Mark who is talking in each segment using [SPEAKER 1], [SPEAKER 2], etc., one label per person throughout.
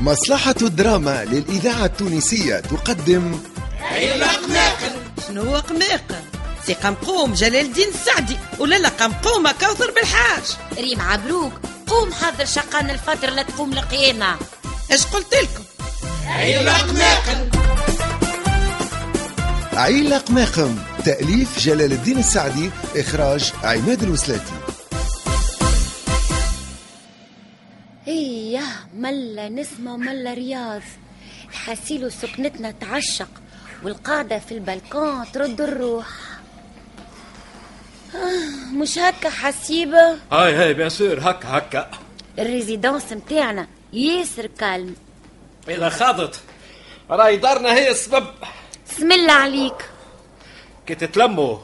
[SPEAKER 1] مصلحة الدراما للإذاعة التونسية تقدم
[SPEAKER 2] علم قماقل
[SPEAKER 3] شنو هو قماقل سي قمقوم جلال الدين السعدي ولا لا قمقومة كوثر بالحاج
[SPEAKER 4] ريم عبروك قوم حضر شقان الفطر لا تقوم القيامة
[SPEAKER 3] اش قلت لكم
[SPEAKER 2] علم قماقل
[SPEAKER 1] عيلق ماقم تأليف جلال الدين السعدي إخراج عماد الوسلاتي
[SPEAKER 4] ايه ملا نسمة ملا رياض الحاسيل سكنتنا تعشق والقاعدة في البلكون ترد الروح آه، مش هكا حسيبة
[SPEAKER 5] هاي هاي بيان سور هكا هكا
[SPEAKER 4] الريزيدونس متاعنا ياسر كالم
[SPEAKER 5] اذا خاضت راي دارنا هي السبب
[SPEAKER 4] بسم الله عليك
[SPEAKER 5] كي تتلموا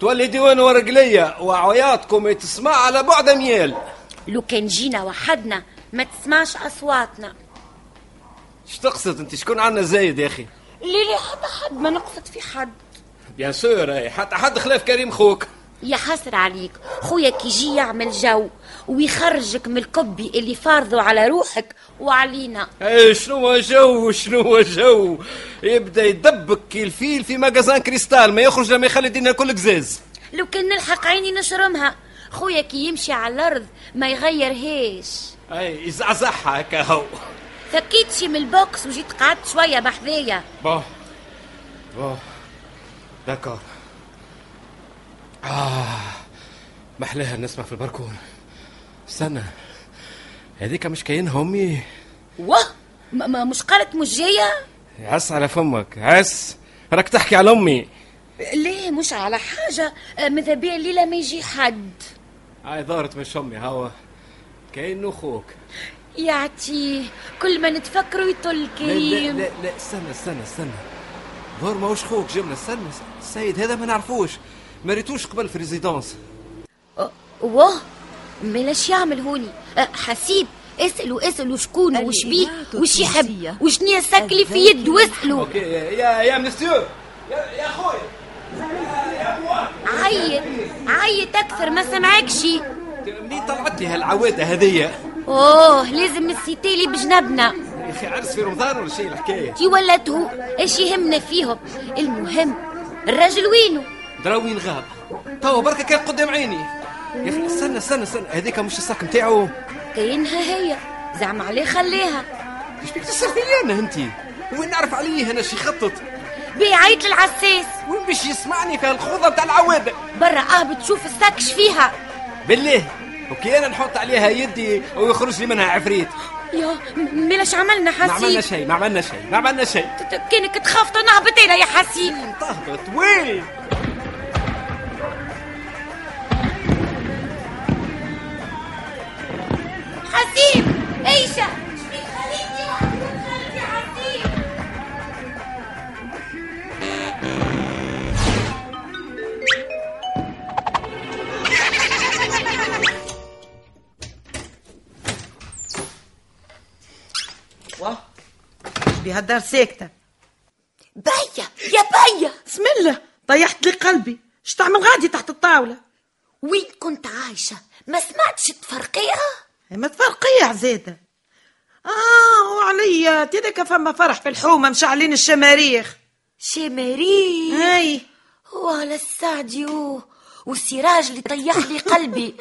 [SPEAKER 5] تولي ديوان ورقلية وعياطكم يتسمع على بعد ميال
[SPEAKER 4] لو كان جينا وحدنا ما تسمعش أصواتنا
[SPEAKER 5] اش تقصد انت شكون عنا زايد يا اخي
[SPEAKER 4] ليلي حتى حد ما نقصد في حد
[SPEAKER 5] بيان سور هاي حتى حد خلاف كريم خوك
[SPEAKER 4] يا حسر عليك خويا كي يجي يعمل جو ويخرجك من الكبي اللي فارضه على روحك وعلينا
[SPEAKER 5] اي شنو جو شنو جو يبدا يدبك كي الفيل في مجازان كريستال ما يخرج لما يخلي الدنيا كل قزاز
[SPEAKER 4] لو كان نلحق عيني نشرمها خويا كي يمشي على الارض ما يغيرهاش
[SPEAKER 5] اي يزعزعها هكا هو
[SPEAKER 4] فكيت شي من البوكس وجيت قعدت شويه بحذايا
[SPEAKER 5] بون بون داكور آه محلاها نسمع في البركون استنى هذيك مش كاين همي
[SPEAKER 4] واه ما- ما مش قالت مش جايه
[SPEAKER 5] عس على فمك عس راك تحكي على امي
[SPEAKER 4] ليه مش على حاجه آه، ماذا بيا الليله ما يجي حد
[SPEAKER 5] هاي دارت مش امي هوا كأنه خوك
[SPEAKER 4] يعطيه كل ما نتفكروا يطل
[SPEAKER 5] لا لا
[SPEAKER 4] كريم
[SPEAKER 5] لا, لا استنى استنى استنى ظهر ماهوش خوك جبنا استنى السيد هذا ما نعرفوش ما ريتوش قبل في ريزيدونس
[SPEAKER 4] أه، واه ملاش يعمل هوني أه، حسيب اسألوا اسألوا شكون وش بيه وش يحب وش نية ساكلي في يد واسألوا
[SPEAKER 5] اوكي يا- يا يا مسيو يا يا خويا
[SPEAKER 4] عيط عيط أكثر ما سمعكش
[SPEAKER 5] منين طلعت لي هالعواده هذيا
[SPEAKER 4] اوه لازم السيتيلي بجنبنا
[SPEAKER 5] يا اخي عرس في رمضان ولا شيء الحكايه
[SPEAKER 4] كي ولدهو ايش يهمنا فيهم المهم الراجل وينو
[SPEAKER 5] دراوين غاب توا بركه كان قدام عيني يا اخي استنى استنى استنى هذيك مش الساك نتاعو
[SPEAKER 4] كاينها هي زعما عليه خليها
[SPEAKER 5] ايش بيك تصير فيا انا انت وين نعرف عليه انا شي خطط
[SPEAKER 4] بيه عيط للعساس
[SPEAKER 5] وين باش يسمعني في هالخوضه نتاع العواده
[SPEAKER 4] برا اهبط شوف الساكش فيها
[SPEAKER 5] بالله اوكي انا نحط عليها يدي ويخرج لي منها عفريت
[SPEAKER 4] يا ملاش عملنا
[SPEAKER 5] ما عملنا
[SPEAKER 4] حسيب
[SPEAKER 5] شيء ما عملنا شيء ما عملنا شيء
[SPEAKER 4] كانك تخاف تنهبط هنا يا حسيب
[SPEAKER 5] تهبط وين
[SPEAKER 4] حسيب ايشا شبيك خليتي وحدك خليتي حسيب
[SPEAKER 3] واه بهالدار ساكتة
[SPEAKER 4] بيا يا بيا
[SPEAKER 3] بسم الله طيحت لي قلبي اش تعمل غادي تحت الطاولة
[SPEAKER 4] وين كنت عايشة ما سمعتش تفرقيها
[SPEAKER 3] ما تفرقيع زادة اه وعليا تذاك فما فرح في الحومة مشعلين الشماريخ
[SPEAKER 4] شماري
[SPEAKER 3] هاي
[SPEAKER 4] وعلى السعديو والسراج اللي طيح لي قلبي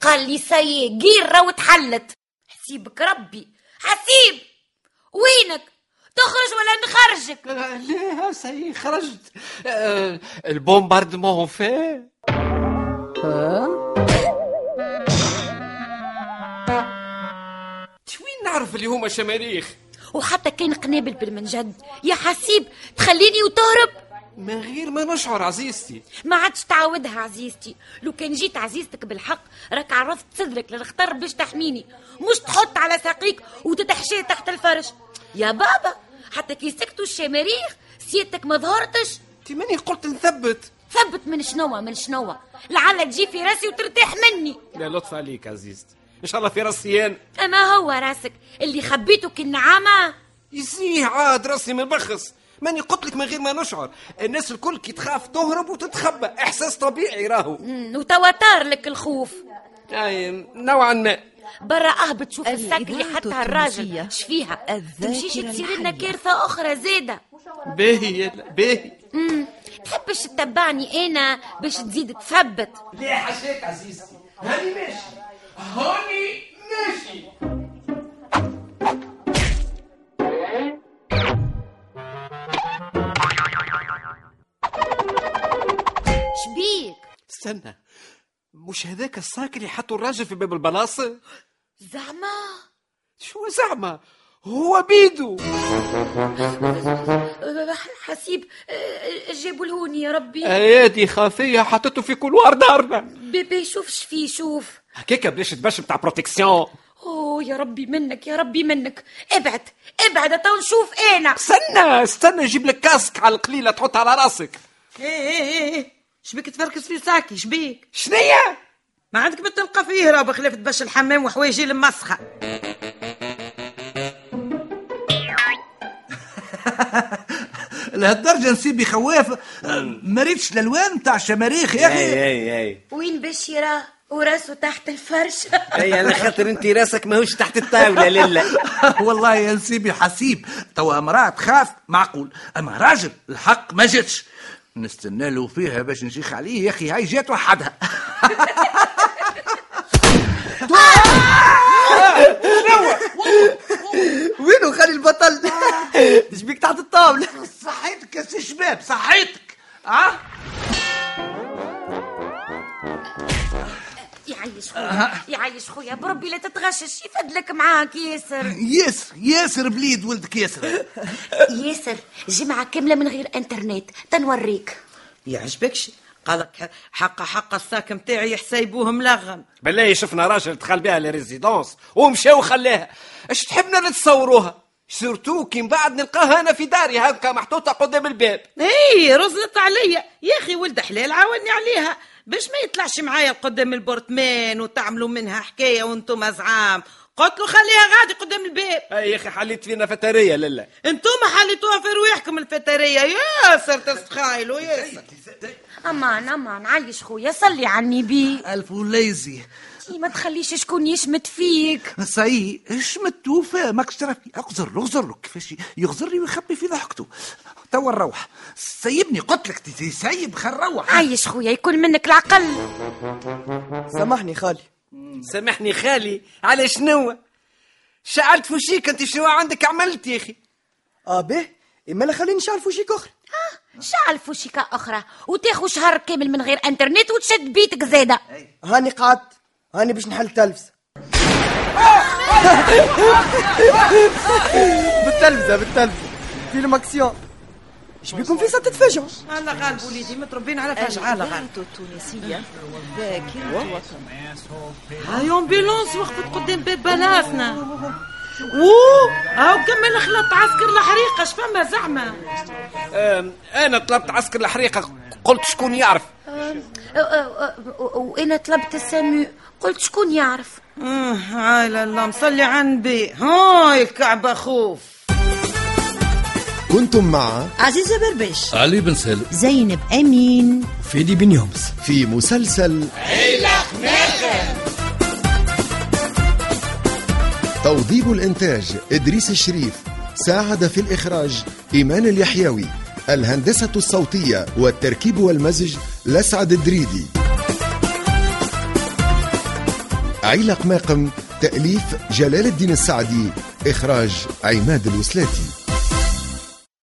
[SPEAKER 4] قال لي سي قيرة وتحلت حسيبك ربي حسيب وينك تخرج ولا نخرجك
[SPEAKER 5] ليه سي خرجت آه، البومباردمون فيه وين نعرف اللي هما شماريخ
[SPEAKER 4] وحتى كان قنابل بالمنجد يا حسيب تخليني وتهرب
[SPEAKER 5] من غير ما نشعر عزيزتي
[SPEAKER 4] ما عادش تعاودها عزيزتي لو كان جيت عزيزتك بالحق راك عرضت صدرك للخطر باش تحميني مش تحط على ساقيك وتتحشي تحت الفرش يا بابا حتى كي سكتوا الشماريخ سيادتك ما ظهرتش
[SPEAKER 5] انت ماني قلت نثبت
[SPEAKER 4] ثبت من شنوة من شنوة لعل تجي في راسي وترتاح مني
[SPEAKER 5] لا لطف عليك عزيزتي ان شاء الله في راسي انا
[SPEAKER 4] اما هو راسك اللي خبيته كالنعامة
[SPEAKER 5] يزيه عاد راسي من بخص ماني قلت لك من غير ما نشعر الناس الكل كي تخاف تهرب وتتخبى احساس طبيعي راهو
[SPEAKER 4] مم، وتوا طار لك الخوف
[SPEAKER 5] يعني نوعا ما
[SPEAKER 4] برا اهبط شوف السك اللي
[SPEAKER 6] الإذاعة
[SPEAKER 4] حتى
[SPEAKER 6] التونسية.
[SPEAKER 4] الراجل شفيها
[SPEAKER 6] الذاكرة
[SPEAKER 4] تمشيش تصير لنا
[SPEAKER 6] الحية.
[SPEAKER 4] كارثه اخرى زاده
[SPEAKER 5] باهي يلا باهي
[SPEAKER 4] امم تحبش تتبعني انا باش تزيد تثبت
[SPEAKER 2] ليه حشيت عزيزتي هاني ماشي هاني ماشي
[SPEAKER 4] شبيك
[SPEAKER 5] استنى مش هذاك الساك اللي حطوا الراجل في باب البلاصه
[SPEAKER 4] زعما
[SPEAKER 5] شو زعما هو بيدو
[SPEAKER 4] حسيب آه، جابوا لهوني يا ربي
[SPEAKER 5] ايادي خاثيه حطته في كلوار دارنا
[SPEAKER 4] بيبي شوف شفي شوف
[SPEAKER 5] هكاك بلاش تبش بتاع بروتكسيون
[SPEAKER 4] اوه يا ربي منك يا ربي منك ابعد ابعد تو نشوف انا
[SPEAKER 5] استنى استنى نجيب لك كاسك على القليله تحط على راسك
[SPEAKER 3] ايه ايه ايه ايه شبيك تفركس في ساكي شبيك
[SPEAKER 5] شنية
[SPEAKER 3] ما عندك ما تلقى فيه راه بخلاف تبش الحمام وحوايجي المسخه
[SPEAKER 7] لهالدرجه نسيبي خوافه ما ريتش الالوان تاع الشماريخ يا
[SPEAKER 8] إيه،
[SPEAKER 7] اخي
[SPEAKER 5] اي اي
[SPEAKER 4] وين باش يراه وراسه تحت الفرش
[SPEAKER 5] اي على خاطر انت راسك ماهوش تحت الطاوله للا
[SPEAKER 8] إيه.
[SPEAKER 7] والله يا نسيبي حسيب توا امراه تخاف معقول اما راجل الحق ما جاتش نستنى له فيها باش نشيخ عليه يا اخي هاي جات وحدها
[SPEAKER 8] وينو خلي البطل ايش بيك تحت الطاوله
[SPEAKER 7] صحيتك يا سي شباب صحيتك اه
[SPEAKER 4] يعيش خويا يعيش خويا بربي لا تتغشش يفدلك معاك ياسر
[SPEAKER 7] ياسر ياسر بليد ولدك ياسر
[SPEAKER 4] ياسر جمعة كاملة من غير انترنت تنوريك
[SPEAKER 3] يعجبكش قالك حق حق الساك متاعي يحسيبوه ملغم
[SPEAKER 5] بالله شفنا راجل دخل بها لريزيدونس ومشى وخلاها اش تحبنا نتصوروها سورتو كي من بعد نلقاها انا في داري هكا محطوطه قدام الباب
[SPEAKER 3] اي رزنت إيه، عليا يا اخي ولد حلال عاوني عليها باش ما يطلعش معايا قدام البرطمان وتعملوا منها حكايه وانتم زعام قلت له خليها غادي قدام الباب
[SPEAKER 5] اي يا اخي حليت فينا فتريه للا
[SPEAKER 3] انتم حليتوها في رواحكم الفتريه ياسر تستخايلوا ياسر
[SPEAKER 4] امان امان عايش خويا صلي على النبي
[SPEAKER 7] الف وليزي
[SPEAKER 4] ما تخليش شكون يشمت فيك
[SPEAKER 7] صاي شمت وفاء ماكش تعرفني اغزر له اغزر له كيفاش يغزر لي ويخبي في ضحكته توا نروح سيبني قلت لك تي- سيب خل نروح
[SPEAKER 4] عايش خويا يكون منك العقل
[SPEAKER 8] آه. سامحني خالي
[SPEAKER 5] سامحني خالي على شنو شعلت فوشيك انت شنو عندك عملت يا اخي
[SPEAKER 8] اه به اما لا خليني نشعل شيك اخرى
[SPEAKER 4] شعل فوشيكا اخرى وتاخو شهر كامل من غير انترنت وتشد بيتك زاده
[SPEAKER 8] هاني قعدت هاني باش نحل التلفزه بالتلفزه بالتلفزه فيلم اكسيون اش بيكم في تتفاجئوا
[SPEAKER 3] الله غالب وليدي متربين على فجعه الله غالب
[SPEAKER 6] الإذاعة التونسية ذاكرة وطن
[SPEAKER 3] هاي امبولانس وقفت قدام باب بلاصنا اوه هاو كمل خلط عسكر الحريقه شفما زعما
[SPEAKER 5] انا طلبت عسكر الحريقه قلت شكون يعرف
[SPEAKER 4] أه، وانا طلبت السامي قلت شكون يعرف
[SPEAKER 3] اه هاي الله مصلي على النبي هاي الكعبه خوف
[SPEAKER 1] كنتم مع
[SPEAKER 6] عزيزة بربش
[SPEAKER 9] علي بن سهل
[SPEAKER 6] زينب أمين
[SPEAKER 9] فيدي بن يومس
[SPEAKER 1] في مسلسل توظيف الإنتاج إدريس الشريف ساعد في الإخراج إيمان اليحيوي الهندسة الصوتية والتركيب والمزج لسعد الدريدي عيلق ماقم تأليف جلال الدين السعدي إخراج عماد الوسلاتي